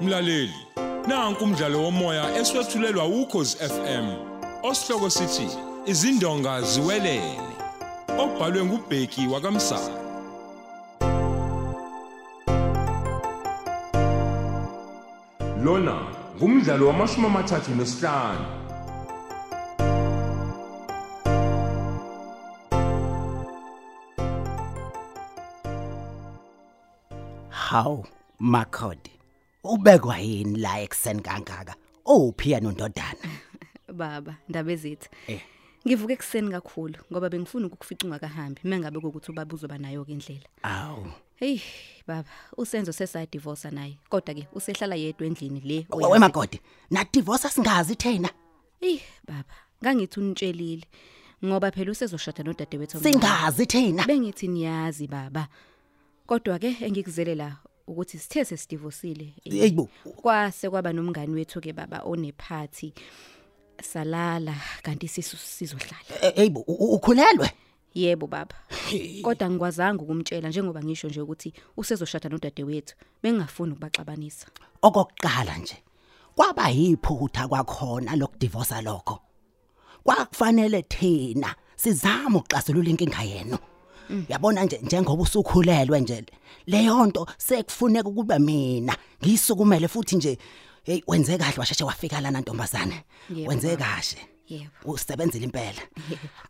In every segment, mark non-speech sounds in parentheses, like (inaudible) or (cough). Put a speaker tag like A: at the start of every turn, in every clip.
A: Mlaleli, nanku umdlalo womoya eswetshulelwa ukhozi FM. Osihloko sithi izindonga ziwelele. Obhalwe ngubheki wakamsana. Lona ngumdlalo wamashumi amathathu nesihlanu.
B: Haw, Makhodi. Ubekwa yini la ekseni kangaka? Uphiya nondodana.
C: baba ndaba ezithi
B: Eh.
C: ngivuke ekuseni kakhulu ngoba bengifuna ukukufica ungakahambi mengabe kokuthi ubaba uzoba nayo ke indlela
B: Aw.
C: heyi baba usenzo sesayadivosa naye kodwa-ke usehlala yedwa endlini le
B: Wewe Makhodi, na divorce singazi thena.
C: eyi baba ngangithi unitshelile ngoba phela usezoshada nodade wethu omncane.
B: Singazi thena.
C: bengithi niyazi baba kodwa-ke engikuzele la ukuthi sithe sesidivosile
B: Eyibo.
C: kwase kwaba nomngani wethu-ke baba onephathi salala kanti isisu sizohlala
B: Eyibo, eh, u- u- ukhulelwe?
C: yebo (laughs) baba kodwa ngikwazanga ukumtshela njengoba ngisho nje ukuthi usezoshada nodade wethu bengingafuni ukubaxabanisa
B: Okokuqala nje. Kwaba yiphutha kwakhona lokudivorce lokho. Kwakufanele thina sizame ukuxazulula inkinga yenu. Yabona nje njengoba usukhulelwe nje leyo nto sekufuneka ukuba mina ngisukumele futhi nje hey wenze kahle washeshe wafika lana ntombazane
C: Yebo,
B: wenze
C: baba.
B: kahle
C: yebo
B: usebenzile impela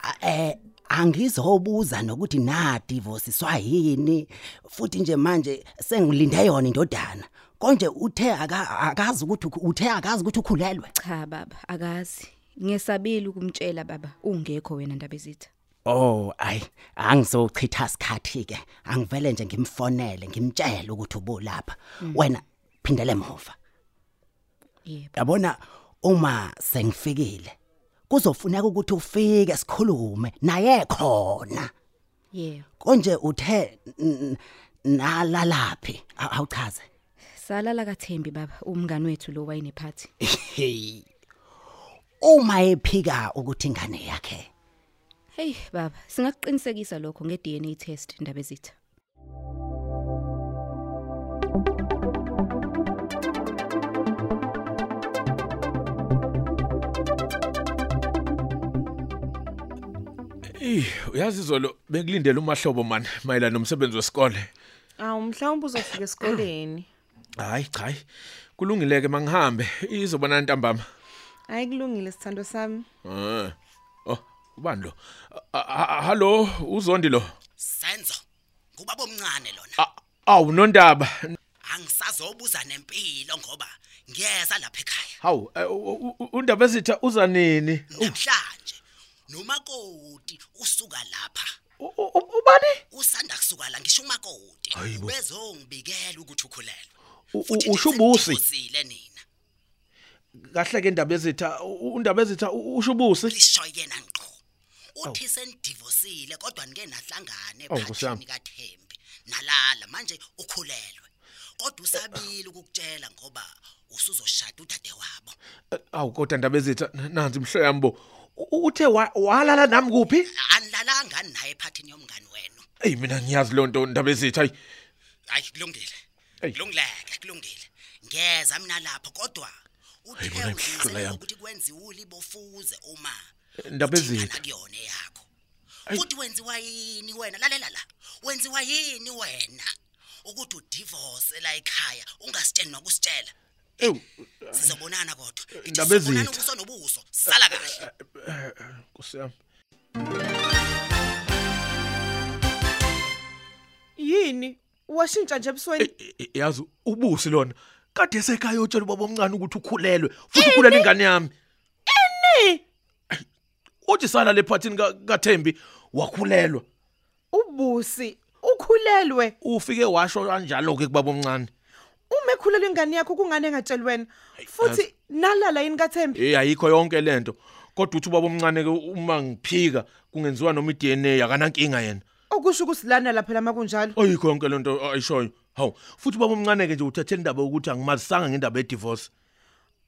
B: A- eh angizobuza nokuthi na divorce swa yini futhi nje manje sengilinde yona indodana konje uthe aka- akazi ukuthi ukhu- uthe akazi ukuthi ukhulelwe
C: cha baba akazi ngesabile ukumtshela baba ungekho wena ndaba ezitha
B: oh ay angizochitha isikhathi ke angivele nje ngimfonele ngimtshele ukuthi ubulapha wena phindele emova
C: yebo
B: yabona uma sengifikile kuzofuneka ukuthi ufike sikhulume naye khona
C: yebo
B: konje uthe n- n- nalalaphi A- awuchaze
C: salala kathembi baba umngani wethu lo wayinephathi
B: uma ephika ukuthi ingane yakhe
C: Hey baba, singakuqinisekisa lokho ngeDNA test indaba ezitha.
D: Eh, uyazi izolo bekulindele umahlobo man mayela nomsebenzi wesikole.
E: Awu mhlawumbe uzofika esikoleni.
D: Hayi cha. hayi. Kulungile ke mangihambe izobona ntambama.
E: Ayikulungile sithando sami.
D: Eh. Oh, ubani lo? A- a- a- Hallo, uzondi lo.
B: senzo kuba bomncane lona
D: A- Awu nondaba.
B: angisazobuza nempilo ngoba ngiyeza lapha ekhaya
D: Hawu, eh, u- u- undaba ezitha uza nini?
B: namhlanje nomakoti usuka lapha
D: U- u- u- Ubani?
B: usanda kusuka la ngisho umakoti
D: Hayibo.
B: bezongibikela ukuthi ukhulelwe
D: U- u-
B: Futhi nje
D: uShubusi?
B: sengidivosile nina
D: Kahle ke indaba ezitha, u- undaba ezitha u- ushubusi.
B: lisho yena ngqo
D: Oh.
B: uthi sendivosile kodwa nike nahlangane
D: Awu, Nkosi yami.
B: phathini kaThembi nalala manje ukhulelwe kodwa usabili ukukutshela ngoba usuzoshada udade wabo
D: Eh, Awu kodwa indaba ezitha nanzi imhloya yambo. U- Uthe wa- walala nami kuphi?
B: anilalanga naye ephathini yomngani wenu
D: Ey mina ngiyazi loo nto indaba ezitha. Hayi.
B: hayi kulungile
D: Ey.
B: kulungileke kulungile ngeza mina lapho kodwa uthe
D: bona imfihlo
B: udlulisele
D: yami.
B: ukuthi kwenziwe ulibofuze uma
D: Indaba
B: uthingana
D: ezitha.
B: kuyona yakho futhi wenziwa yini wena lalela la wenziwa yini wena ukuthi udivorce la ekhaya ungasitsheli nokusitshela
D: Ewu,
B: sizobonana kodwa Ngithi
D: Indaba
B: sizobonana
D: ezitha.
B: ubuso nobuso sala kahle
D: Nkosi yami.
E: Yini? Washintsha nje ebusweni.
D: E- e- yazi ubusi lona kade esekhaya utshela ubaba omncane ukuthi ukhulelwe futhi ukhulela ingane yami
E: Ni
D: uthi sala lephathini ka- kaThembi wakhulelwa
E: ubusi ukhulelwe.
D: ufike washo kanjalo ke kubaba omncane
E: Uma ekhulelwe ingane yakho kungane engatsheli wena. Futhi nalala yini kaThembi?
D: eh ayikho yonke lento kodwa uthi ubaba omncane ke uma ngiphika kungenziwa noma iDNA akanankinga yena
E: Okusho ukuthi lana lapha lama kunjalo.
D: ayikho yonke lento ayishoyo hawu futhi ubaba omncane ke nje uthethe indaba ukuthi angimazisanga ngendaba ye-divorce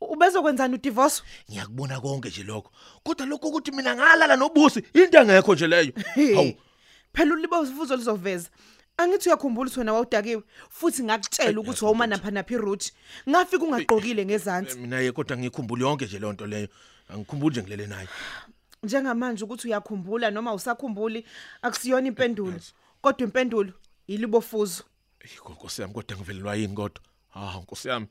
E: Ubezokwenzani udivorce?
D: ngiyakubona konke nje lokho kodwa lokho ukuthi
F: (laughs)
D: mina ngalala nobusi into engekho nje leyo hawu
E: Phela ulibo uvuzo lizoveza. Angithi uyakhumbula ukuthi wena wawudakiwe futhi ngakutshela ukuthi wawuma napha naphi route. Ngafika ungaqokile ngezantsi.
D: mina ye kodwa ngikhumbule yonke nje lonto leyo angikhumbuli nje ngilele naye
E: Njengamanje ukuthi uyakhumbula noma usakhumbuli akusiyona impendulo. Kodwa impendulo ilibofuzo.
D: Yiko Nkosi yami kodwa ngivelelwa yini kodwa? Ah Nkosi yami.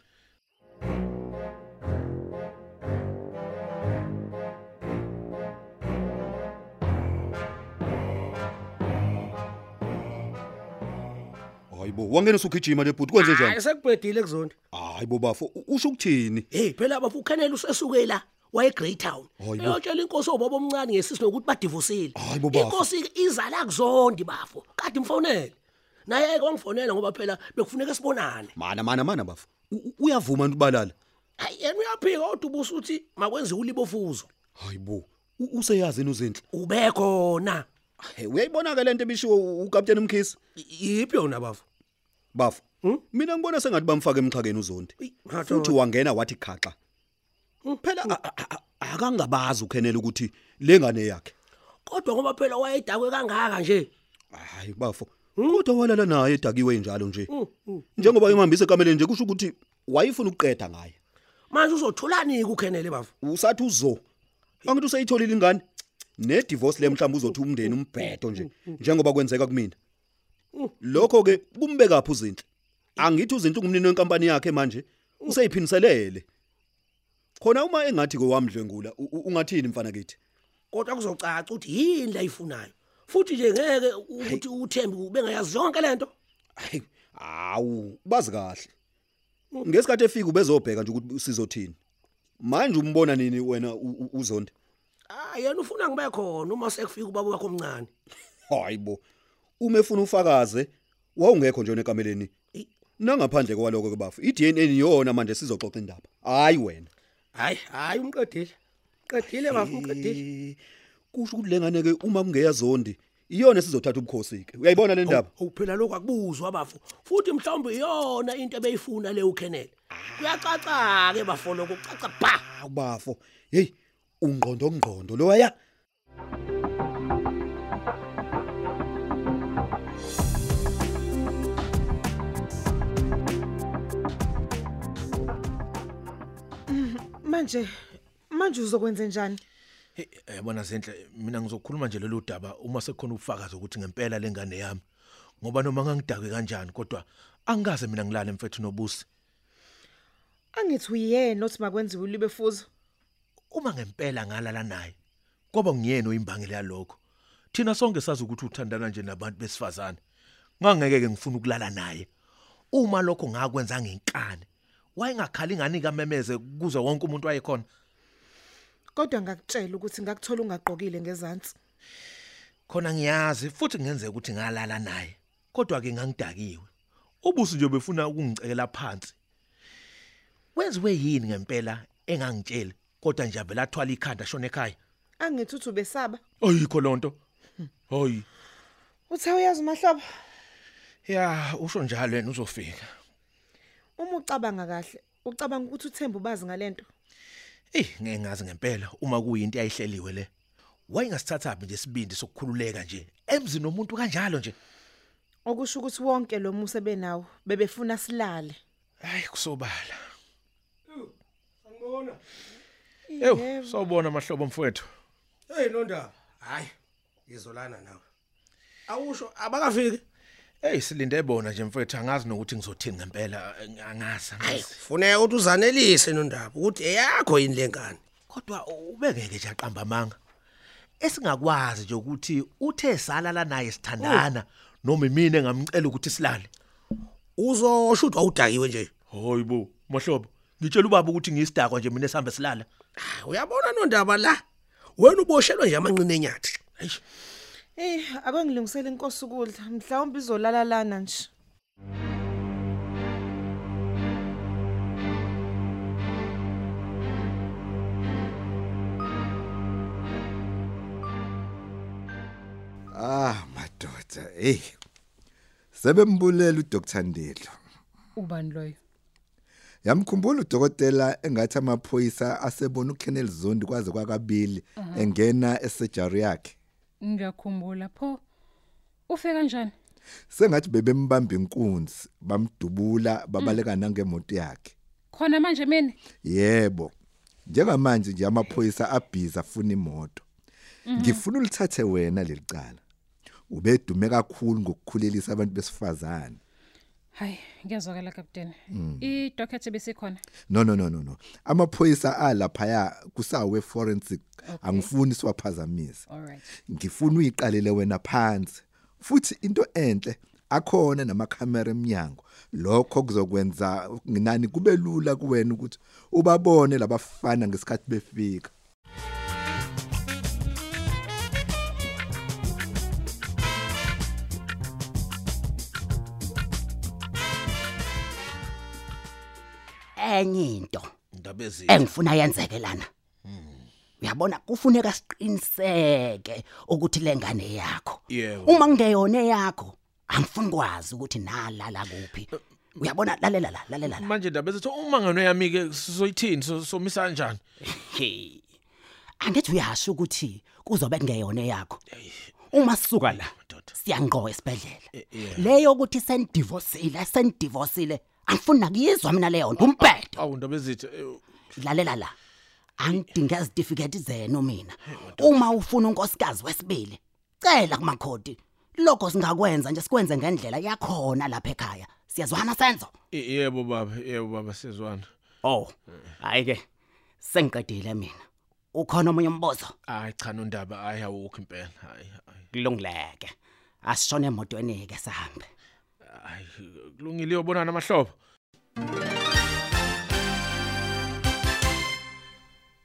G: Hayibo, wangena usugijima lebhuti kwenze njani?
F: Ayisekubhedile kuzona.
G: Hayibo bafo, u- usho ukuthini?
F: Hey phela bafu ukhanela usesuke la waye Great Town.
G: Hayi bo.
F: Eyotshela inkosi obaba omncane ngesisi nokuthi badivosile.
G: Hayi bo bafo.
F: Inkosi izala kuzondi bafu. Kade imfonele. Naye ke wangifonela ngoba phela bekufuneka sibonane.
G: Mana mana mana bafo. U- u- Uyavuma ntubalala.
F: Hayi yena uyaphika oduba usuthi makwenziwe ulibofuzo.
G: Hayibo, u- useyazi yini uzinhle?
F: Ube khona.
G: Hey, uyayibona ke lento ebishiwo u- uCaptain Mkhize?
F: Yiphi yona bafu?
G: Bafo. Mina ngibona sengathi bamfaka emxhakeni uzondi.
F: Hmm? Uyi, Hmm. ngathi
G: Futhi wangena wathi khaxa. Phela a- a- a- akangabazi ukhenela ukuthi lengane yakhe.
F: Kodwa ngoba phela wayedakwe kangaka nje. Hmm?
G: Hayi bafo. Kodwa walala naye edakiwe njalo nje. Njengoba emhambise kameleni nje kusho ukuthi wayifuna ukuqeda ngaye.
F: Manje uzothulani ukukhenele bafu?
G: usathi uzo angithi useyitholile ingane ne divorce le mhlamba uzothi umndeni umbhedo
F: Hmm,
G: nje njengoba kwenzeka kumina lokho ke kumbeka phu izinhle angithi izinto ngumnini wenkampani yakhe manje useyiphiniselele khona uma engathi ke wamdlwengula u- u- ungathini mfana kithi
F: Kodwa kuzocaca ukuthi yini la ifunayo. Futhi nje ngeke ukuthi uthembe ubengayazi yonke lento.
G: Hayi, awu bazi kahle ngesikhathi efika ubezobheka nje ukuthi sizothini manje umbona nini wena u- u- uzonde
F: Ah yena ufuna ngibe khona uma sekufika ubaba wakho omncane.
G: Hayibo. Uma efuna ufakaze, wawungekho nje nekameleni. Nangaphandle kwaloko ke bafu. iDNA niyona manje sizoxoxa indaba. Hayi wena.
F: Hayi hayi umqedile. Qedile bafu umqedile.
G: Eh, Kusho ukuthi lengane ke uma kungeyazondi, iyona sizothatha ubukhosi ke. Uyayibona le ndaba?
F: Uphela lokho akubuzwa bafu. Futhi mhlawumbe iyona into ebeyifuna le ukhenele. Kuyacaca ke bafo lokho caca ba.
G: Akubafo. Hey, ungqondo ngqondo loya.
E: Manje manje uzokwenza njani?
D: Hey, Yabona senhle mina ngizokhuluma nje lolu daba uma sekukhona ubufakazi ukuthi ngempela lengane yami. Ngoba noma ngangidakwe kanjani kodwa angikaze mina ngilale mfethu nobusi.
E: Angithi uyena othi makwenziwe ulibefuzo.
D: Uma ngempela ngalala naye. Kwaba ngiyena oyimbangela yalokho. Thina sonke sazi ukuthi uthandana nje nabantu besifazane. Ngangeke ke ngifuna ukulala naye. Uma lokho ngakwenza ngenkani. Wayengakhala ingane kamemeze kuze wonke umuntu wayekhona.
E: Kodwa ngakutshela ukuthi ngakuthola ungaqokile ngezantsi.
D: khona ngiyazi futhi kungenzeka ukuthi ngalala naye kodwa ke ngangidakiwe ubusi nje befuna ukungicekela phansi wenziwe yini ngempela engangitshele kodwa nje avela athwala ikhanda shona ekhaya
E: Angithi uthi ubesaba.
D: ayikho lonto hayi
E: Uthi awuyazi mahlobo
D: ya usho njalo yena uzofika
E: uma ucabanga kahle ucabanga ukuthi uThemba ubazi ngalento.
D: Eh ngeke ngazi ngempela uma kuyinto ayihleliwe le. Wayengasithathaphi nje isibindi sokukhululeka nje emzini nomuntu kanjalo nje.
E: Okusho ukuthi wonke lo musa benawo bebefuna silale.
D: Hayi kusobala. Ew, sawubona mahlobo mfowethu.
F: Hey nondaba. Hayi ngizolana nawe. Awusho abakafiki.
D: Hey silinde bona nje mfethu angazi nokuthi ngizothini ngempela eh, angazi
F: Hayi
D: angazi
F: kufuneka ukuthi uzanelise nondaba ukuthi eyakho yini lengane.
D: kodwa ubekeke nje aqamba amanga esingakwazi nje ukuthi uthe salala naye sithandana
F: Oh.
D: noma mina ngamcela ukuthi silale
F: Uzoshutwa udakiwe nje.
D: hoyibo mahlobo ngitshela ubaba ukuthi ngiyisidakwa nje mina sihambe silala
F: Ah, Uyabona nondaba la. Wena uboshelwe nje amanqine enyathi.
D: eish
E: Eh akungilungisele inkosi ukudla mhlawumbe izolala lana nje.
H: Ah madoda, hey. Sebembulela uDr Ndelo.
I: Ubani loyo?
H: Yamkhumbula uDokotela engathi amaphoyisa asebona uKenneth Zondi kwaze kwakabili
I: Mhm.
H: engena esejari yakhe.
I: Ngiyakhumbula pho. Ufe kanjani?
H: sengathi bebembamba inkunzi bamdubula
I: Mm.
H: babaleka nangemoto yakhe
I: khona manje mina
H: yebo njengamanje nje amaphoyisa abhiza afuna imoto
I: Mhm.
H: ngifuna ulithathe wena lelicala ubedume kakhulu ngokukhulelisa abantu besifazane
I: hayi ngiyazwakala kapteni idocket besikhona
H: no no no no no amaphoyisa alaphaya kusawe forensic angifuni siwaphazamise
I: alright
H: ngifuna uyiqalele wena phansi futhi into enhle akhona namakhamera eminyango lokho kuzokwenza nginani kube lula kuwena ukuthi ubabone labafana ngesikhathi befika
B: enye into
D: Indaba ezinhle.
B: engifuna yenzeke lana uyabona kufuneka siqiniseke ukuthi lengane yakho
D: Yebo.
B: uma kungeyona yakho angifuni kwazi ukuthi nalala kuphi uyabona lalela la lalela la
D: Manje indaba ezithi uma ngano yami ke sizoyithini so- somisa kanjani?
B: Hey. Angithi uyasho ukuthi kuzobe kungeyona yakho. Uma sisuka la siyangqoqa esibedlela. Leyo ukuthi sendivorceile, sendivorceile. Angifuni nakuyizwa mina leyo nto umphetho.
D: Awu indaba ezithi eh,
B: Lalela la. Angidingi certificate zenu mina. Uma ufuna unkosikazi wesibili, cela kumakhoti. Lokho singakwenza nje sikwenze ngendlela yakhona lapha ekhaya. Siyazwana senzo.
D: eh, yebo baba yebo baba sezwana.
B: Oh. Hayi ke. Sengiqedile mina. Ukhona omunye umbuzo?
D: Hayi cha nondaba hayi awukho impela. Hayi hayi.
B: kulungileke asishone emotweni ke sahambe
D: Hayi kulungile uyobonana amahlobo.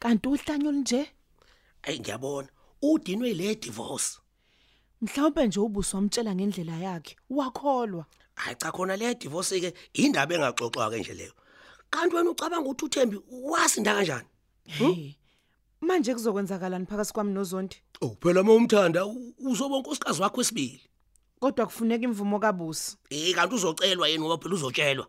E: kanti uhlanyo nje
F: Ayi ngiyabona, udinwe ile divorce.
E: mhlawumbe nje ubuso wamtshela ngendlela yakhe wakholwa
F: Hayi cha khona le divorce ke indaba engaxoxwa ke nje leyo. Kanti wena ucabanga ukuthi uThembi wasinda kanjani?
E: hey manje kuzokwenzakalani phakathi kwami nozondi
F: Oh phela uma umthanda u- uzoba unkosikazi wakho wesibili.
E: kodwa kufuneka imvumo kabusi
F: Eh kanti uzocelwa yena ngoba phela uzotshelwa.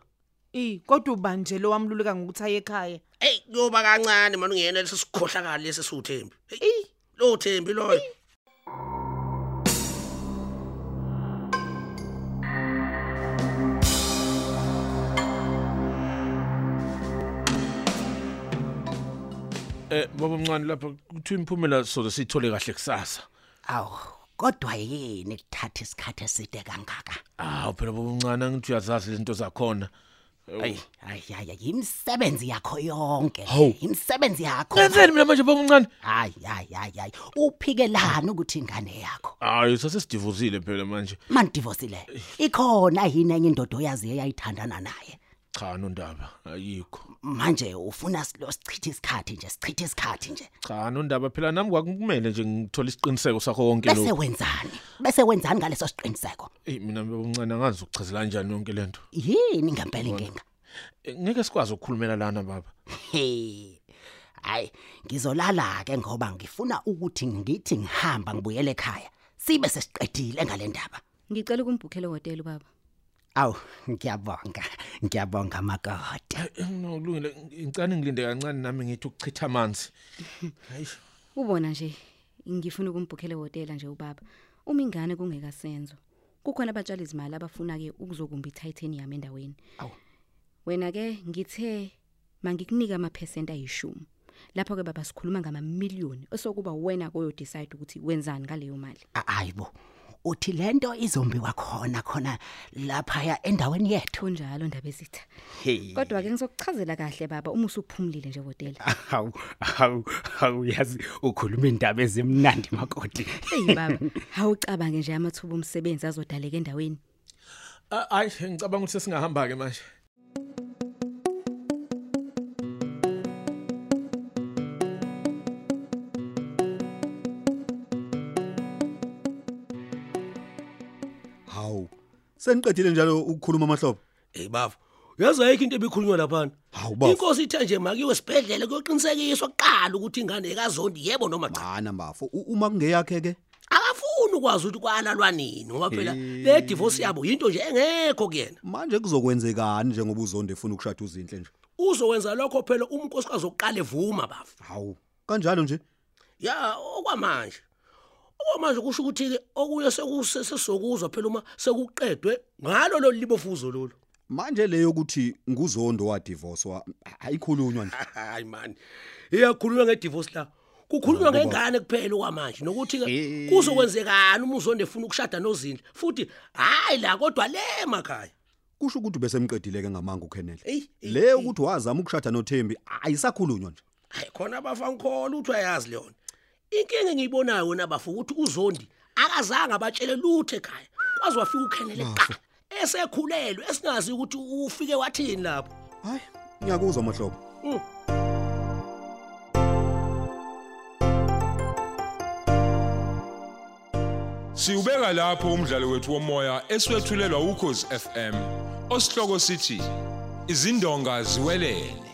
E: i kodwa ubanje lo wamluleka ngokuthi aye ekhaya
F: Ey kuyoba kancane manje ungena lesi sikhohlakala lesi suThembi.
E: Eyi.
F: lo Thembi loyo.
D: Eh baba mncane lapha kuthi imphumela soze sithole kahle kusasa.
B: awu kodwa yini kuthatha isikhathi eside kangaka
D: Ah phela baba mncane angithi uyazazi izinto zakhona.
B: ayi ayi yimsebenzi yakho yonke
D: Hawu.
B: imsebenzi yakho
D: Kenzeni mina manje baba mncane?
B: hayi hayi hayi hayi uphikelana ukuthi ingane yakho
D: Hayi sasesidivuzile phela manje.
B: mandivosile ikhona yini enye indoda oyaziyo eyayithandana naye
D: Cha nondaba ayikho.
B: manje ufuna silo sichithe isikhathi nje sichithe isikhathi nje
D: Cha nondaba phela nami kwakumele nje ngithole isiqiniseko sakho konke
B: bese
D: lokho.
B: wenzani bese wenzani ngaleso siqiniseko
D: Eh mina baba mncane angazi ukuchazela kanjani yonke lento.
B: yini ngempela inkinga
D: Eh, Ngeke sikwazi ukukhulumela lana baba.
B: Hey. Hayi, ngizolala ke ngoba ngifuna ukuthi ngithi ngihamba ngibuyele ekhaya. Sibe sesiqedile ngalendaba.
C: ngicela ukumbhukhela hotel baba
B: Aw, ngiyabonga. Ngiyabonga makoti.
D: Eh, No kulungile ngicane ngilinde kancane nami ngithi ukuchitha amanzi.
C: ubona nje ngifuna ukumbhukhela hotel nje ubaba uma ingane kungekasenzo kukhona abatshali izimali abafuna ke ukuzokumba iTitanium endaweni
B: Awu.
C: wena ke ngithe mangikunika ama percent ayishumi lapho ke baba sikhuluma ngama million esokuba wena koyo decide ukuthi wenzani ngaleyo mali
B: A- Ayibo. Uthi lento izombiwa khona khona lapha ya endaweni yethu.
C: kunjalo ndaba ezitha
B: Hey.
C: kodwa ke ngizokuchazela kahle baba uma usuphumlile nje hotel
B: Awu, awu, awu yazi ukhuluma indaba ezimnandi makoti.
C: eyi baba awucabange nje amathuba omsebenzi azodaleka endaweni
D: Ah, Hayi ngicabanga ukuthi sesingahamba ke manje.
G: Hawu. Seniqedile njalo ukukhuluma amahlobo.
F: Hey baba, uyazi ayikho into ebikhulunywa lapha.
G: Hawu, bafo.
F: Inkosi ithe nje makiwe sibhedlele kuyoqinisekiswa kuqala ukuthi ingane ekazondi yebo noma cha.
G: Mana bafo u- uma kungeyakhe ke
F: Akafuni ukwazi ukuthi kwalalwa nini ngoba phela le divorce yabo into nje engekho kuyena.
G: manje kuzokwenzekani njengoba uzonde efuna ukushada uzinhle nje.
F: Uzowenza lokho phela umnkosikazi oqala evuma baba.
G: Hawu. Kanjalo nje.
F: Ya okwamanje.
D: okwamanje kusho ukuthi-ke okuye sekuse- sesizokuzwa phela uma sekuqedwe ngalo lolu libofuzo lolu (laughs)
G: manje leyo ukuthi nguzondo wadivorce wa ayikhulunywa nje
D: hayi mani iyakhulunywa ngedivorce la kukhulunywa ngengane kuphela okwamanje
G: Eh.
D: nokuthi-ke kuzokwenzekani uma uzondo efuna ukushada nozinhle futhi hhayi la kodwa le makhaya
G: kusho ukuthi bese mqedileke ngamanga uKenneth
D: eyi eyi,
G: leyo ukuthi wazama ukushada noThembi ayisakhulunywa nje
D: hayi khona abafana khona ukuthi uyayazi leyona inkinga engiyibonayo wena bafu ukuthi uzondi akazange abatshele lutho ekhaya kwaze wafika ukhenele kuqala esekhulelwe esingazi ukuthi ufike wathini lapho
G: hayi ngiyakuzwa mahlobo
D: Mm.
A: Siubeka lapho umdlalo wethu womoya eswetshulelwa ukhozi FM. Osihloko sithi izindonga ziwelele.